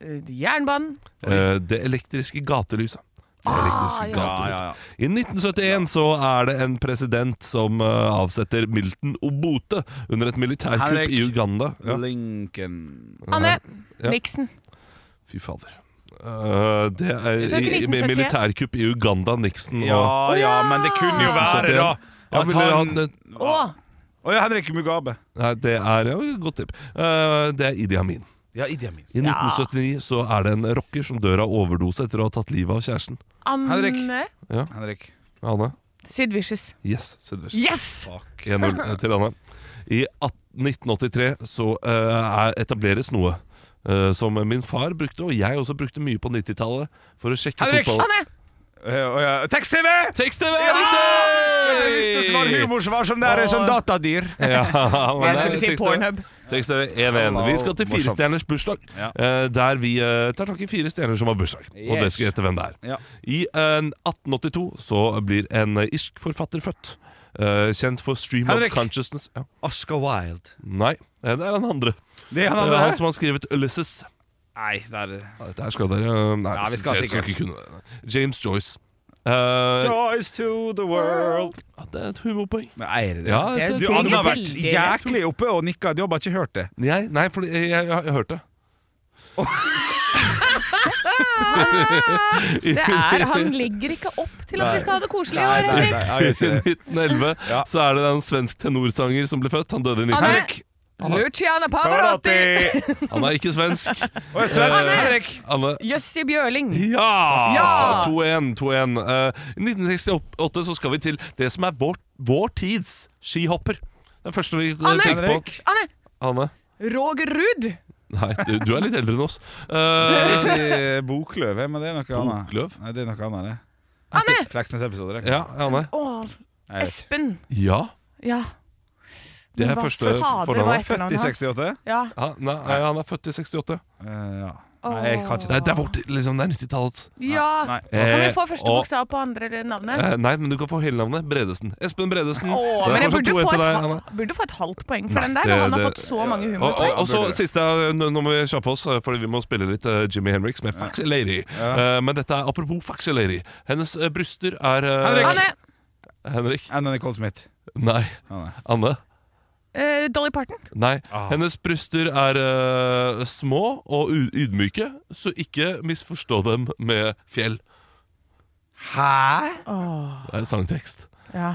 eh, Jernbanen.
Eh, det elektriske gatelyset. Det elektriske gatelyset.
ja, ja.
I 1971 så er det en president som eh, avsetter Milton Obote under et militærkupp
Henrik.
i Uganda. Ja.
Lincoln
Anne.
Ja.
Nixon.
Fy fader. Eh, det er
Så er det
i,
ikke
med
1971?
militærkupp i Uganda, Nixon og
Ja, ja, Sånn men det kunne jo være, da.
Ja,
At
men det er
han-
han-
Og
Å ja, Henrik Mugabe.
Nei, det er ja, godt tipp. Eh, det er Idi Amin.
Ja, Idi Amin.
I 1979 så er det en rocker som dør av overdose etter å ha tatt livet av kjæresten.
Anne
Henrik. Henrik.
Anne?
Sid Vicious.
Yes. Sid Vicious.
Yes!
1-0 eh, til Anne. I 18 1983 så eh, er- etableres noe eh, som min far brukte, og jeg også brukte mye på 90-tallet, for å sjekke
Henrik!
fotball.
Anne.
Eh, å ja. Tekst-TV!
Tekst-TV!
Ja! Jeg visste det var humor som var sånn der, sånn datadyr.
Ja, men
Jeg
det er
skulle si
tekst-tv.
Pornhub.
Tekst-TV 1-1. Vi skal til
Morsomt.
Firestjerners bursdag,
Ja.
eh, der vi eh, tar tak i fire stjerner som har bursdag. Og dere skal gjette hvem det er.
Ja.
I eh, 1882 så blir en eh, irsk forfatter født. eh, kjent for Stream
Henrik.
of Consciousness. Ja.
Oscar Wilde.
Nei, eh, det er han andre.
Det er
Det er
han andre
han
her.
som har skrevet Ulysses.
Nei, det er
Ja, Dette her skal dere eh, Nei,
Ja, vi skal
jeg
sikkert.
ikke kunne det. James Joyce. Eh,
Joys to the world.
ja, det er et humorpoeng.
Men eier det?
Ja,
Det er
det,
Du,
jo
Anne har vært
veldig lett.
jæklig oppe og nikka. Du har bare ikke hørt det.
jeg, nei, for jeg, jeg, jeg, jeg hørte.
Det er, han legger ikke opp til at vi skal ha det koselig i år, Henrik.
I 1911
Ja.
så er det en svensk tenorsanger som ble født. Han døde i 19...
Anne.
Henrik. Han er,
Luciana Pavarotti.
han er ikke svensk.
Og en svensk Henrik.
Anne.
Jøssi Bjørling.
Ja!
Ja!
2-1, 2-1. Eh, I 1968 så skal vi til det som er vår, vår tids skihopper. Det er første vi eh,
Anne.
tenker på.
Anne.
Anne.
Roger Ruud.
Nei, du, du er litt eldre enn oss. Eh,
Eh, Bokløv, men det er noe annet.
Bokløv?
Nei, det er noe annet, det.
Anne.
Fleksnes-episoder. det er ikke-
ja, Anne.
Å,
Jeg vet ikke.
Espen.
Ja.
Ja.
Det er
Hva
første
fader var
fornavnet.
etternavnet
Født i
hans?
68.
Ja.
Ja, nei, han er født i 68.
Eh, ja. Nei, jeg kan ikke
Det er, det er vårt, liksom, det er 90-tallet.
Ja!
Nei.
Kan vi
Eh,
få første
og-
bokstav på andre navnet?
Eh, nei, men du kan få hele navnet. Bredesen. Espen Bredesen.
Åh,
Det er
men jeg
kanskje
burde
to
få,
etter
et,
deg,
hal-
Anna.
burde få et halvt poeng for den der.
det-
og han har
det-
fått så mange
Og, og,
humorpoeng.
og så siste, eh, nå nå må vi kjappe oss, eh, Fordi vi må spille litt eh, Jimmy Henriks med Faxi Lady. Eh, men dette er apropos Faxi Lady. Hennes eh, bryster er eh,
Anne,
Henrik.
Enda Nicole Smith.
Nei.
nei.
Anne.
eh, Dolly Parton.
Nei. Hennes bryster er eh, små og u- ydmyke, så ikke misforstå dem med fjell.
Hæ?
Det er en sangtekst.
Ja.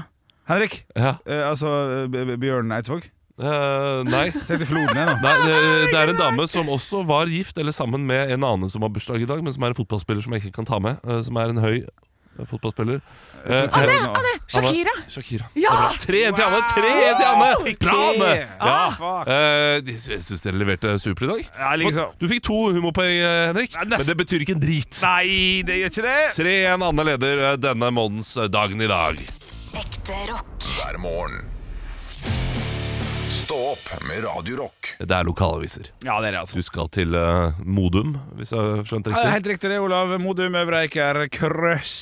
Henrik.
Ja.
Eh, altså eh, B- B- Bjørn Eidsvåg.
Eh, nei.
Tenkte floden, jeg, nå.
Nei, det, det er en dame som også var gift eller sammen med en annen som har bursdag i dag, men som er en fotballspiller som jeg ikke kan ta med. eh, Som er en høy eh, fotballspiller. Eh,
Jeg tenkte nå.
Shakira!
Shakira.
Ja!
Tre til Anne! Tre til Anne! Bra, Anne! Ja.
Ah, fuck.
Eh, de- jeg syns dere leverte supert i dag.
Ja, liksom.
Du fikk to humorpoeng, eh, Henrik, men det betyr ikke en drit.
Nei, det gjør ikke det!
3-1 Anne leder eh, denne månedens eh, Dagen i dag.
Ekte rock.
hver morgen. Stå opp med Radio Rock.
Det er lokalaviser.
Ja, det er det, altså.
Du skal til eh, Modum, hvis jeg har skjønt
Ja, det er
riktig.
helt riktig det, Olav. Modum, Øvre Eiker, Krøss,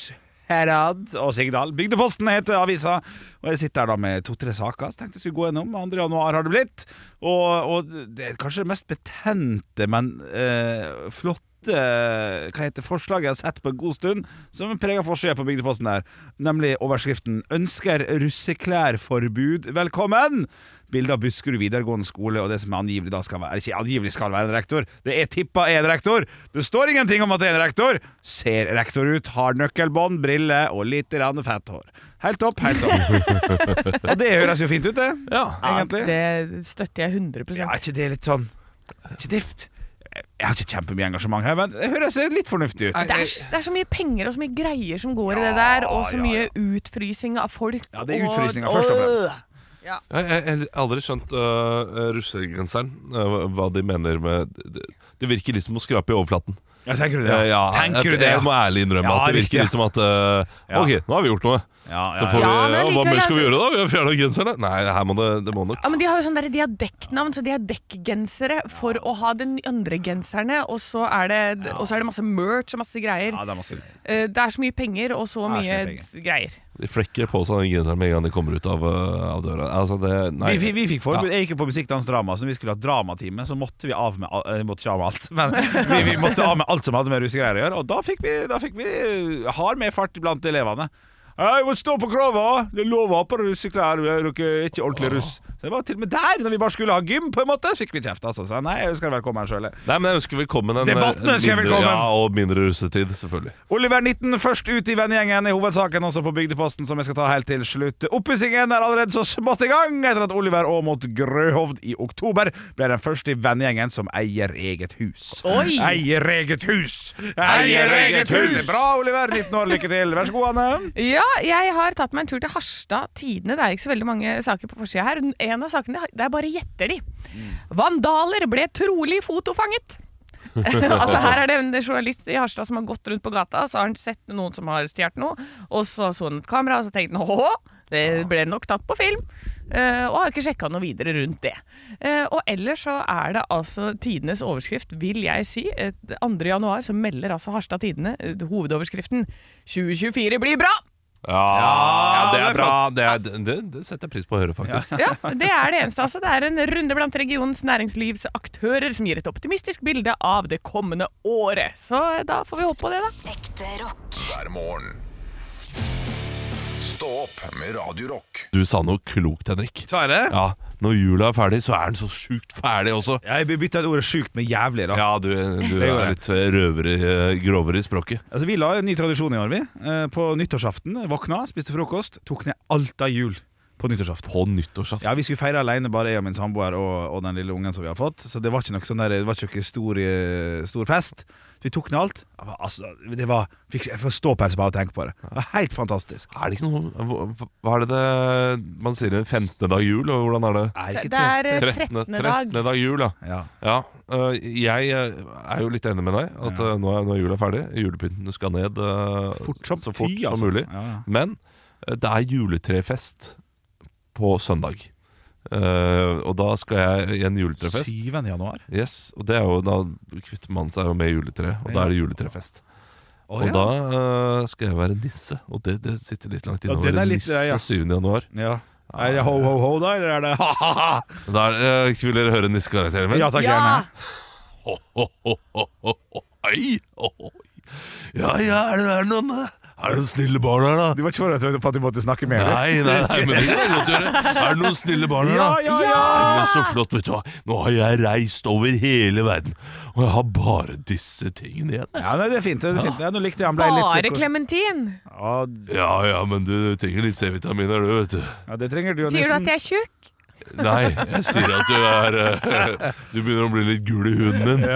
Herad og Sigdal. Bygdeposten heter avisa. Og jeg sitter her da med to-tre saker som tenkte jeg skulle gå gjennom. 2. januar har det blitt. Og, og det er kanskje det mest betente, men eh, flotte hva heter forslaget jeg har sett på en god stund, som preger forsida på Bygdeposten der, nemlig overskriften 'Ønsker russeklærforbud velkommen'. Bilde av Buskerud videregående skole og det som angivelig da skal være Ikke angivelig skal være en rektor, det er tippa er en rektor. Det står ingenting om at det er en rektor. Ser rektor ut, har nøkkelbånd, briller og litt grann fett hår. Helt opp, helt opp. og det høres jo fint ut, det. egentlig.
det støtter jeg 100
Ja, er ikke det litt sånn er ikke det, Jeg har ikke kjempemye engasjement her, men det høres litt fornuftig ut.
Det er, s- det er så mye penger og så mye greier som går i det der, og så
ja,
mye utfrysing av folk.
Ja, det er
og-
utfrysninger først og fremst.
Øh.
Jeg jeg- jeg har aldri skjønt øh, russegenseren, øh, hva de mener med det, det virker litt som å skrape i overflaten.
Ja, tenker du
Eh, ja,
tenker
jeg,
du det, ja?
jeg må ærlig innrømme
Ja,
at det
riktig, ja.
virker litt som at øh,
Ja.
Ok, nå har vi gjort noe.
Ja,
Så får
ja, ja.
vi,
Ja, men
og hva mer
likevel
skal vi
at-
gjøre, da? Vi har fjerna genserne? Nei, det her må det, det må nok
Ja, men De har jo sånne der, de har dekknavn, så de har dekkgensere for å ha den andre genserne. Og så er det, og så er det masse merch og masse greier.
Ja, det er masse
Eh, Det er så mye penger og så
Det
mye
er så
d-
mye
greier.
De flekker på seg den genseren med en gang de kommer ut av, øh, av døra. Altså, det
vi,
Nei.
vi, vi fikk forbud. Jeg gikk jo på musikk, dans, drama, så når vi skulle ha dramatime, så måtte vi av med, al- eh, måtte ikke av med alt. Men vi, vi måtte av med alt som hadde med russegreier å gjøre, og da fikk vi, da fikk vi eh, hard med fart blant elevene. Hei, må stå på krava! Det er lova på russeklær, vi er jo ikke ikke ordentlig russ. Så det var til og med der, når vi bare skulle ha gym, på en måte, fikk vi kjeft, altså. Så nei, jeg ønsker deg velkommen sjøl.
Nei, men jeg ønsker velkommen en,
Debatten
en
ønsker jeg
mindre,
velkommen.
Ja, og mindre russetid, selvfølgelig.
Oliver 19 først ut i vennegjengen i hovedsaken også på Bygdeposten, som jeg skal ta helt til slutt. Oppussingen er allerede så smått i gang, etter at Oliver Aamodt Grøhovd i oktober ble den første i vennegjengen som eier eget hus.
Oi!
Eier eget hus! Eier eget hus! Bra, Oliver. 19 år, lykke til. Vær så god, Anne.
Ja, jeg har tatt meg en tur til Harstad Tidene. Det er ikke så veldig mange saker på forsida her. En av sakene, det er bare gjetter de. Vandaler ble trolig fotofanget. altså Her er det en journalist i Harstad som har gått rundt på gata, og så har han sett noen som har stjålet noe, og så så han et kamera, og så tenkte han åhå, det ble nok tatt på film. Eh, og har ikke sjekka noe videre rundt det. Eh, og ellers så er det altså tidenes overskrift, vil jeg si. Eh, 2. januar så melder altså Harstad Tidene eh, hovedoverskriften 2024 blir bra!
Ja, det
det er
er bra. Det, er, det, det setter jeg pris på å høre, faktisk.
Ja, det er det eneste. altså. Det er en runde blant regionens næringslivsaktører som gir et optimistisk bilde av det kommende året. Så eh, da får vi håpe på det, da.
Ekte rock.
hver morgen. Stå opp med Radio Rock.
Du sa noe klokt, Henrik.
Sa jeg det?
Ja, Når jula er ferdig, så er den så sjukt ferdig også.
Jeg bytta ut ordet sjukt med jævlig, da.
Ja, du, du
Det gjorde
er
jeg.
litt eh, røvere, grovere i språket.
Altså, vi la en ny tradisjon i år, vi. Eh, På nyttårsaften våkna, spiste frokost, tok ned alt av jul på nyttårsaften.
På nyttårsaften.
Ja, Vi skulle feire alene, bare jeg og min samboer og, og den lille ungen som vi har fått. Så det var ikke noe sånn der, det var ikke noe stor, eh, stor fest. Vi tok ned alt. Altså, det var, fikk, jeg får ståpels bare av å tenke på det. Det var Helt fantastisk.
Er det ikke noe hva- Hva er det, det man sier den 15. dag jul? Og hvordan er det?
Nei, ikke
Det er eh,
13.
13. dag.
dag jul, ja.
tre- Ja.
ja. øh, Jeg øh, er jo litt enig med deg. At øh, nå er, nå er jula ferdig. Julepynten skal ned øh,
Fort som
så fort
fy,
som eh,
altså.
mulig.
Ja, ja.
Men øh, det er juletrefest på søndag. Eh, og da skal jeg i en juletrefest.
7. januar.
Yes, og det er jo, Da kvitter man seg jo med juletreet, og da er det juletrefest.
Å,
og
ja.
da eh, skal jeg være nisse, og det, det sitter litt langt inne. å
den
være
er litt-
nisse
ja.
7. januar.
Ja. Er det ho, ho, ho, da, eller er det ha-ha-ha?
Da er det, eh, ikke vil dere høre nissekarakteren min?
Ja takk, gjerne.
Ho, ho, ho, ho, ho, ho. Oi, ho, ho. Ja, ja, er det, er det noen eh, Er det noen snille barn her, da?
Du var ikke forberedt på at du måtte snakke mer? eller?
Nei, nei, nei, men det kan jeg godt gjøre. Er det noen snille barn her, da?
Ja, ja, ja!
Men så flott, vet du hva. Nå har jeg reist over hele verden, og jeg har bare disse tingene igjen.
Ja, nei, det er fint. det er fint ja, Nå likte jeg han ble
Bare
litt
klementin!
ja,
Ja, ja, men du trenger litt C-vitaminer, du, vet du.
ja, Det trenger du jo,
Sier du
nissen.
at jeg er tjukk?
Nei, jeg sier at du er eh, Du begynner å bli litt gul i huden din.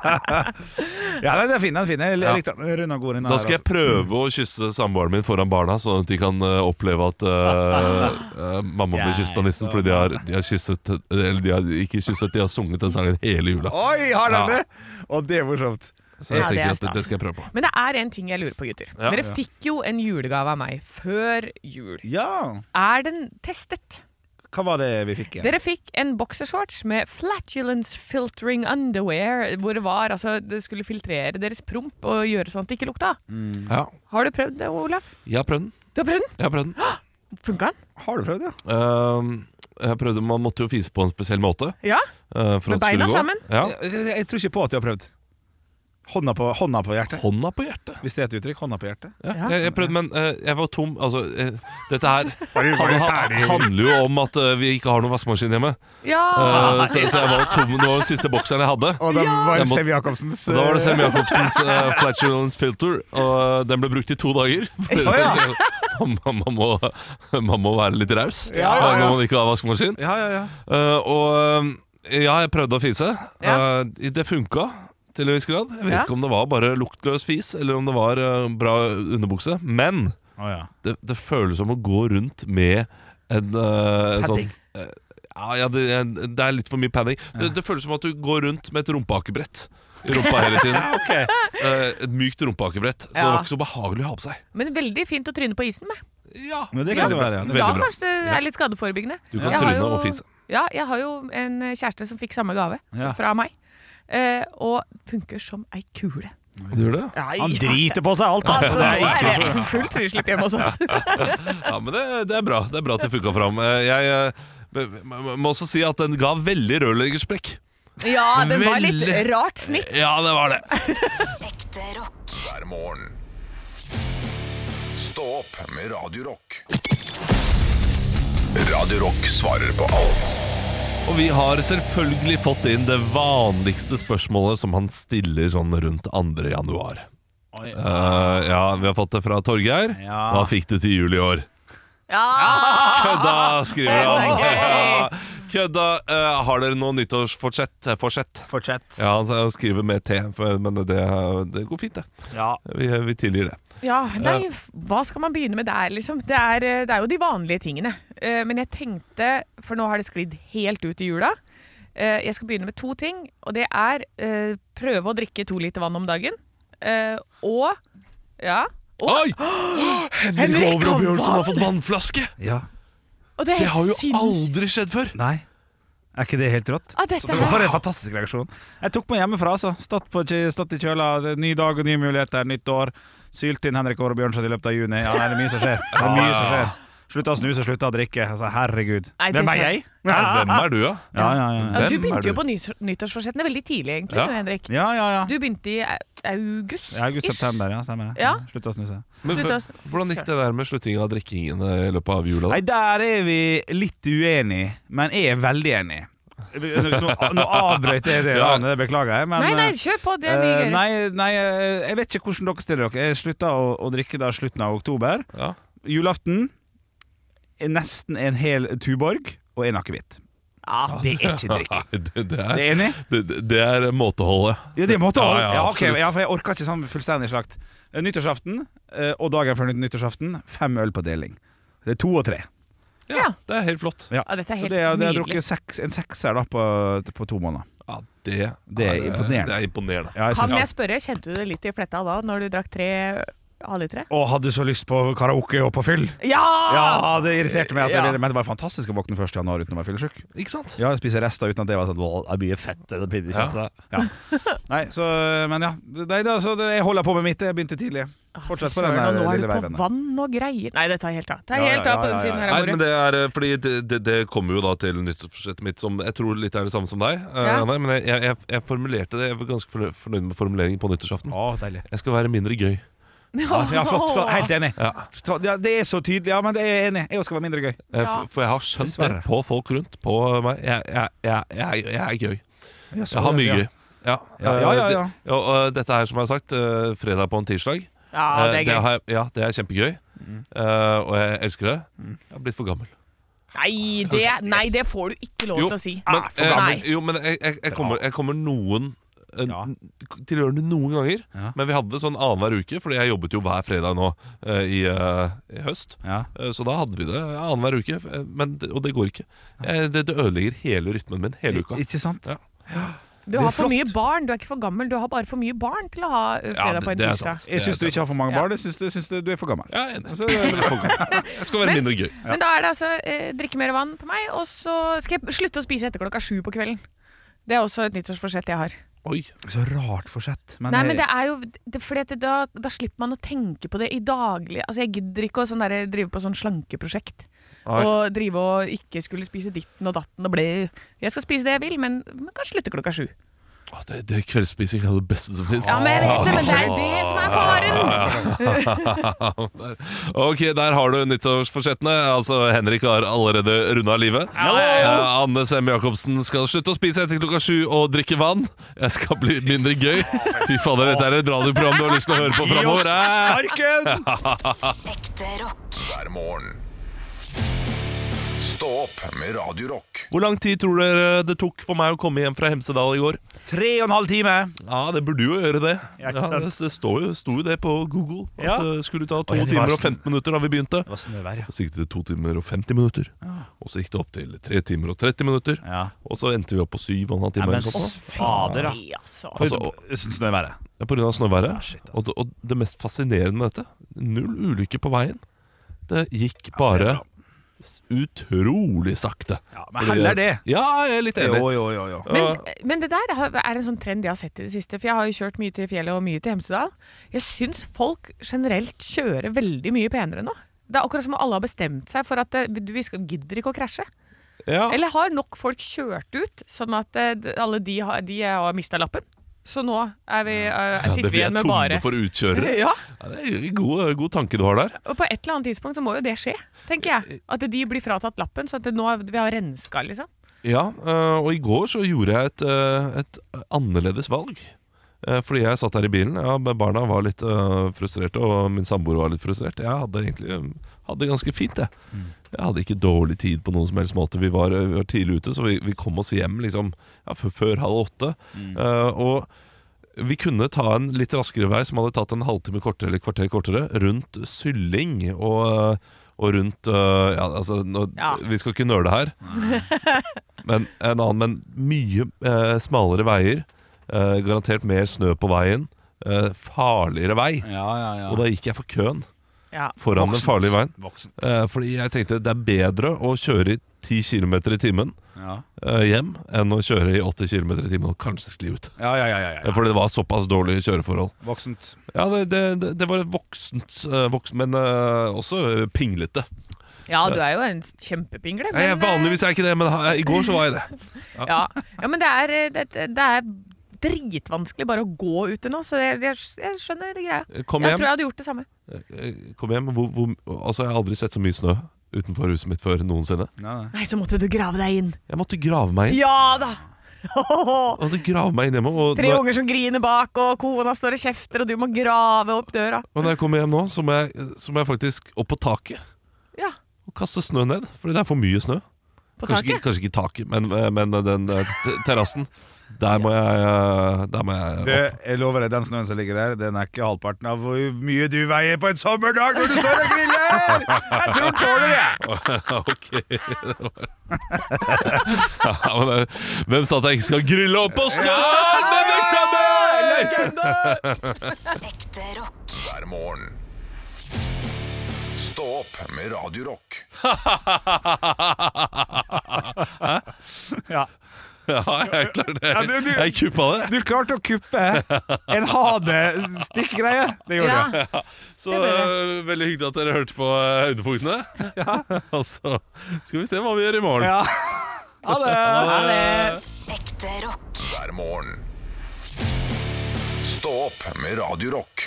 Ja, nei, det er fint, den er fin. Jeg
Ja.
likte den. Rune og Gorin
Da skal
altså.
jeg prøve å kysse samboeren min foran barna, sånn at de kan eh, oppleve at eh, eh, mamma blir kysset av nissen. Fordi de har, de har kysset Eller de har ikke kysset, de har sunget den sangen hele jula.
Oi, har den
Ja.
det? Og det er morsomt.
Så jeg
Ja, det er
tenker at
stas.
det skal jeg prøve på.
Men det er en ting jeg lurer på, gutter.
Ja.
Dere fikk jo en julegave av meg før jul.
Ja.
Er den testet?
Hva var det vi fikk? igjen?
Dere fikk en boksershorts med flatulence filtering underwear, hvor det var altså Det skulle filtrere deres promp og gjøre sånn at det ikke lukta.
Ja,
Har du prøvd det, Olaf?
jeg har prøvd den.
Du har prøvd den?
Jeg har prøvd den.
Funka den?
Har du prøvd, ja?
Ehm, jeg prøvde, Man måtte jo fise på en spesiell måte.
Ja?
eh, for
Med
at det skulle
beina
gå.
sammen?
Ja.
Jeg, jeg tror ikke på at du har prøvd. Hånda på, hånda på hjertet.
Hånda på hjertet.
Hvis det er et uttrykk. Hånda på hjertet.
Ja,
Ja.
Jeg, jeg prøvde, men eh, jeg var tom. Altså, eh, dette her han- han- handler jo om at eh, vi ikke har noen vaskemaskin hjemme.
Ja!
Eh, så, så jeg var tom. Det var den siste bokseren jeg hadde.
Ah. Og da var
Jeg
det
må-
Sevi Jacobsens eh,
Og da var det Sem Jacobsens uh, Flatulence Filter, og eh, den ble brukt i to dager. Fordi man, man, man, må, man må være litt raus
ja,
eh,
ja.
når man ikke har vaskemaskin.
Ja, ja, ja.
Eh, og eh, ja, jeg prøvde å fise.
Ja.
Eh, det funka til en viss grad. Jeg vet
Ja.
ikke om det var bare luktløs fis, eller om det var eh, bra underbukse. Men
Å, ja.
det, det føles som å gå rundt med en eh, sånn eh, ja, ja, det, er- det er litt for mye padding. Det, det føles som at du går rundt med et rumpeakebrett i rumpa hele tiden.
Ok.
Eh, et mykt rumpeakebrett. Så det
Ja.
var ikke så behagelig å ha på seg.
Men veldig fint å tryne på isen med.
Ja,
Men det kan
veldig
det være,
bra.
ja.
Da
Veldig bra.
kanskje det er litt skadeforebyggende.
Du kan
Jeg har
tryne
jo-
og fise.
Ja, jeg har jo en kjæreste som fikk samme gave
Ja.
fra meg. Eh, og funker som ei kule.
Du gjør det? ja.
Han driter på seg alt, da.
Altså,
Det er
nå
ikke-
er det fullt frislipp hjemme hos oss.
Ja, men det, det er bra. Det er bra at det funka fram. Eh, Jeg eh, m- m- må også si at den ga veldig rørleggersprekk.
Ja, den var litt
Veldig.
rart snitt.
Ja, det var det.
Ekte rock.
hver morgen. Stå opp med Radio Rock. Radio Rock svarer på alt
Og vi har selvfølgelig fått inn det vanligste spørsmålet som han stiller sånn rundt 2. januar. Eh, ja, vi har fått det fra Torgeir.
Ja.
Hva fikk du til jul i år?
Ja!
Kødda, skriver han.
Ah, Det er
Kødda. Eh, har dere noe nyttårsforsett? Eh, Forsett?
Fortsett.
Ja, altså, han skriver med T, for- men det, det går fint, det.
Ja.
Vi, vi tilgir det.
ja, nei, f- hva skal man begynne med der, liksom? Det er, eh, det er jo de vanlige tingene. Eh, Men jeg tenkte, for nå har det sklidd helt ut i jula, eh, jeg skal begynne med to ting. Og det er eh, prøve å drikke to liter vann om dagen. eh, Og ja. Og,
Oi! Henrik
Henrik
Over og
har
Bjørnson har
vann!
fått vannflaske!
ja.
og det er
Det har
helt
jo
sinnssykt.
aldri skjedd før!
Nei. Er ikke det helt rått?
Ah, dette
Det var
her.
en fantastisk reaksjon. Jeg tok meg hjemmefra, altså. Stått, på, stått i kjøla. Ny dag og nye muligheter, nytt år. Sylt inn Henrik Åre Bjørnson i løpet av juni. Ja, nei, det er mye som skjer. Det er mye som skjer. Slutta å snuse, slutta å drikke. Altså, herregud.
Nei, det
Hvem
tror
er
jeg-
jeg?
Nei, hvem er du, da?
Ja, ja,
Ja, du
ja.
Hvem er
begynte jo
du?
på nytt- nyttårsforsettene veldig tidlig, egentlig,
Ja.
du, Henrik.
Ja, ja, ja.
Du begynte i au- august.
Ja, August-september, ja, stemmer det.
Ja.
Slutta å snuse.
Men,
Slutt å sn-
hvordan gikk det der med sluttingen av drikkingen eh, i løpet av jula?
Nei, der er vi litt uenige, men jeg er veldig enig. Nå, nå avbrøt jeg det
Ja.
ranet, det beklager jeg. Men,
Nei, nei, kjør på. Det er mye
Eh,
gøyere.
nei, nei, eh, jeg vet ikke hvordan dere stiller dere. Jeg slutta å, å drikke da slutten av oktober.
Ja.
Julaften er nesten en hel Tuborg og en akevitt. Det er ikke drikking.
Nei, det, det,
Det
er,
er enig?
det, det- det er måteholdet.
Ja, det måtte
Ja,
jeg.
ja,
Ja, ok,
absolutt.
ja, for jeg orka ikke sånn fullstendig slakt. Eh, Nyttårsaften eh, og dagen før nyttårsaften fem øl på deling. Det er to og tre.
Ja,
Ja.
det er helt flott.
Ja, dette er
Så
helt
det, er- det har
nydelig.
drukket seks, en sekser da på, på to måneder.
Ja, det,
Det er
eh,
imponerende.
Det er imponerende.
Ja, jeg
Kan
synes-
jeg spørre, kjente du det litt i fletta da, når du drakk tre Alle tre?
Og hadde så lyst på karaoke og på fyll.
Ja!
Ja, det irriterte meg.
Ah!
At
Ja.
jeg, men det var fantastisk å våkne 1. januar uten å være fyllesyk.
Ikke sant?
Ja, spise rester uten at det var sånn «Åh, Det er mye fett. Det er pinlig,
Ja.
Ja. Nei, så, men ja. Nei, da, så det, jeg holder på med mitt. Jeg begynte tidlig.
Ah,
Fortsett
fy
på
søren, og
den der
nå er
lille
vi på
veivennen.
vann og greier. Nei, det tar helt av. Det er
Ja, ja,
helt av på
ja,
den
ja,
siden
ja.
her
Nei,
av
men
bordet.
det er eh, Fordi det, det, det kommer jo da til nyttårsforsettet mitt, som jeg tror litt er det samme som deg. eh,
Ja.
Nei, men jeg, jeg, jeg formulerte det Jeg var ganske fornø- fornøyd med formuleringen på nyttårsaften.
Å, deilig.
Jeg skal være mindre gøy.
Ja, ja, flott, flott. Helt enig.
Ja.
Ta- Ja, det er så tydelig. Ja, men det er jeg enig. i. Jeg også skal være mindre gøy.
Eh,
Ja.
f- For jeg har skjønt
Dessverre.
det på folk rundt, på meg. Jeg, jeg, jeg, jeg, jeg er gøy. Jeg har mye gøy. Ja,
Ja, ja, ja,
Eh,
ja.
det- og, og dette her, som jeg har sagt, eh, fredag på en tirsdag.
Ja,
Eh,
det er gøy.
har jeg, ja, det er kjempegøy. Eh, og jeg elsker det.
Mm.
Jeg har blitt for gammel.
Nei det, nei, det får du ikke lov
Jo,
til å si. Ah,
Men,
for gammel.
eh, jo, men jeg, jeg, jeg, kommer, jeg kommer noen eh,
Ja.
til å gjøre det noen ganger.
Ja.
Men vi hadde det sånn annenhver uke, Fordi jeg jobbet jo hver fredag nå eh, i, eh, i høst.
Ja.
Eh, Så da hadde vi det annenhver uke, eh, men, det- og det går ikke. Eh, Det, det ødelegger hele rytmen min hele uka.
Ikke sant?
Ja.
Du
er
har for
flott.
mye barn. Du er ikke for gammel. Du har bare for mye barn til å ha eh, fredag
det-
på en
det er
tirsdag.
sant.
Jeg syns du ikke har for mange barn. Jeg syns du, syns du du er for gammel.
Jeg er enig. Jeg skal være mindre gøy.
Men da er det altså eh, drikke mer vann på meg, og så skal jeg slutte å spise etter klokka sju på kvelden. Det er også et nyttårsforsett jeg har.
Oi,
Så rart forsett. Men,
Nei, men det er jo det, fordi at det, da, da slipper man å tenke på det i daglig Altså, jeg gidder ikke å sånn derre- drive på sånn slankeprosjekt.
Nei.
Og drive og ikke skulle spise ditten og datten og ble Jeg skal spise det jeg vil, men man kan slutte klokka sju.
Å, det, det er kveldsspising er det beste som fins.
Ja, men jeg vet det, men det er det som er faren!
Der. ok, der har du nyttårsforsettene. Altså, Henrik har allerede runda livet. Eh, Anne Semme Jacobsen skal slutte å spise etter klokka sju og drikke vann. Jeg skal bli mindre gøy. Fy fader, dette er et radioprogram du har lyst til å høre på framover.
Arken!
Ekte rock.
hver morgen. Stå opp med Radio Rock.
Hvor lang tid tror dere det tok for meg å komme hjem fra Hemsedal i går?
Tre og en halv time.
Ja, det burde jo gjøre det.
Ja,
Ja,
ikke sant?
det det står jo, sto jo det på Google. At
Ja.
det skulle ta to
Å, ja, det var
timer og
sn-
15 minutter da vi begynte.
Det var snøvær,
Og så gikk det to timer og 50 minutter. Og så gikk det opp til tre timer og 30 minutter.
ja.
Og så endte vi opp på syv og en halv time. eller noe sånt.
fader, da.
Nei, altså.
Altså,
Snøværet.
Ja, på grunn av snøværet.
Ah, shit, altså.
og, det, og det mest fascinerende med dette null ulykker på veien. Det gikk bare s- utrolig sakte.
Ja, men heller det.
Ja, jeg er litt enig.
Jo, jo, jo. jo.
Men, men det der har- er en sånn trend jeg har sett i det siste. For jeg har jo kjørt mye til fjellet og mye til Hemsedal. Jeg syns folk generelt kjører veldig mye penere nå. Det er akkurat som om alle har bestemt seg for at eh, vi skal, gidder ikke å krasje.
Ja.
Eller har nok folk kjørt ut, sånn at eh, d- alle de har, de har mista lappen? Så nå er vi, eh,
Ja,
sitter
det
vi
vi er
igjen med
tomme
bare
for utkjørere.
ja,
Ja, det er en god, god tanke du har der.
og På et eller annet tidspunkt så må jo det skje, tenker
Eh,
jeg. At de blir fratatt lappen, så at det nå er- vi har renska, liksom.
Ja, eh, og i går så gjorde jeg et, eh, et annerledes valg. Eh, Fordi jeg satt her i bilen. Ja, men barna var litt eh, frustrerte, og min samboer var litt frustrert. Jeg hadde egentlig eh, hadde det ganske fint, jeg. Jeg hadde ikke dårlig tid på noen som helst måte. Vi var, eh, vi var tidlig ute, så vi, vi kom oss hjem liksom ja, før, før halv åtte. Eh, og vi kunne ta en litt raskere vei som hadde tatt en halvtime kortere eller kvarter kortere, rundt Sylling og, eh, og rundt øh, ja, altså, nå,
Ja.
Vi skal ikke nøle her, men en annen, men mye eh, smalere veier. eh, garantert mer snø på veien. eh, farligere vei.
Ja, ja, ja.
Og da gikk jeg for køen
Ja.
foran den farlige veien.
Voksent.
Eh, fordi jeg tenkte det er bedre å kjøre i 10 km i timen
Ja,
eh, hjem enn å kjøre i 80 km i timen og kanskje skli ut.
ja, ja. ja, ja,
Eh,
ja.
Fordi det var såpass dårlige kjøreforhold.
Voksent.
Ja, det, det, det- det var et voksent, eh, voksen, men eh, også eh, pinglete.
ja, du er jo en kjempepingle.
Nei, jeg,
men, eh,
vanligvis er jeg ikke det, men ha- i går så var jeg det.
Ja, ja men det er, eh, det, det det er dritvanskelig bare å gå ute nå, så jeg, jeg, jeg skjønner greia.
Kom
Jeg tror jeg
hjem.
hadde gjort det samme.
Eh, Kom hjem. Hvor, hvor, altså, jeg har aldri sett så mye snø utenfor huset mitt før noensinne.
Nei, nei.
Nei, så måtte du grave deg inn.
Jeg måtte grave meg inn.
Ja da!
Jeg måtte grave meg inn hjemme og
Tre
når,
unger som griner bak, og kona står og kjefter, og du må grave opp døra.
og når jeg kommer hjem nå, så må jeg, så må jeg faktisk opp på taket
Ja,
og kaste snø ned. Fordi det er for mye snø.
på
Kanskje
taket.
ikke, kanskje ikke taket, men, men den eh, te- terrassen. Der må jeg, eh, der må jeg
Du, jeg lover deg, den snøen som ligger der, den er ikke halvparten av hvor mye du veier på en sommerdag når du står og griller! Jeg tror du tåler det!
Ok ja, men, eh, Hvem sa at jeg ikke skal grille opp på snøen? Men det kan jeg!
Legende!
Ekte rock.
hver morgen. Stå opp med Radio Rock.
Ja.
Ja, jeg klarte det.
Ja, du- du-
Jeg kuppa det.
Du klarte å kuppe en ha det-stikkgreie. Det gjorde
Ja.
du.
Så
det ble
eh, veldig hyggelig at dere hørte på eh, høydepunktene. Og så skal vi se hva vi gjør i morgen.
Ja. Ha det.
Ekte rock.
hver morgen. Stå opp med Radio Rock.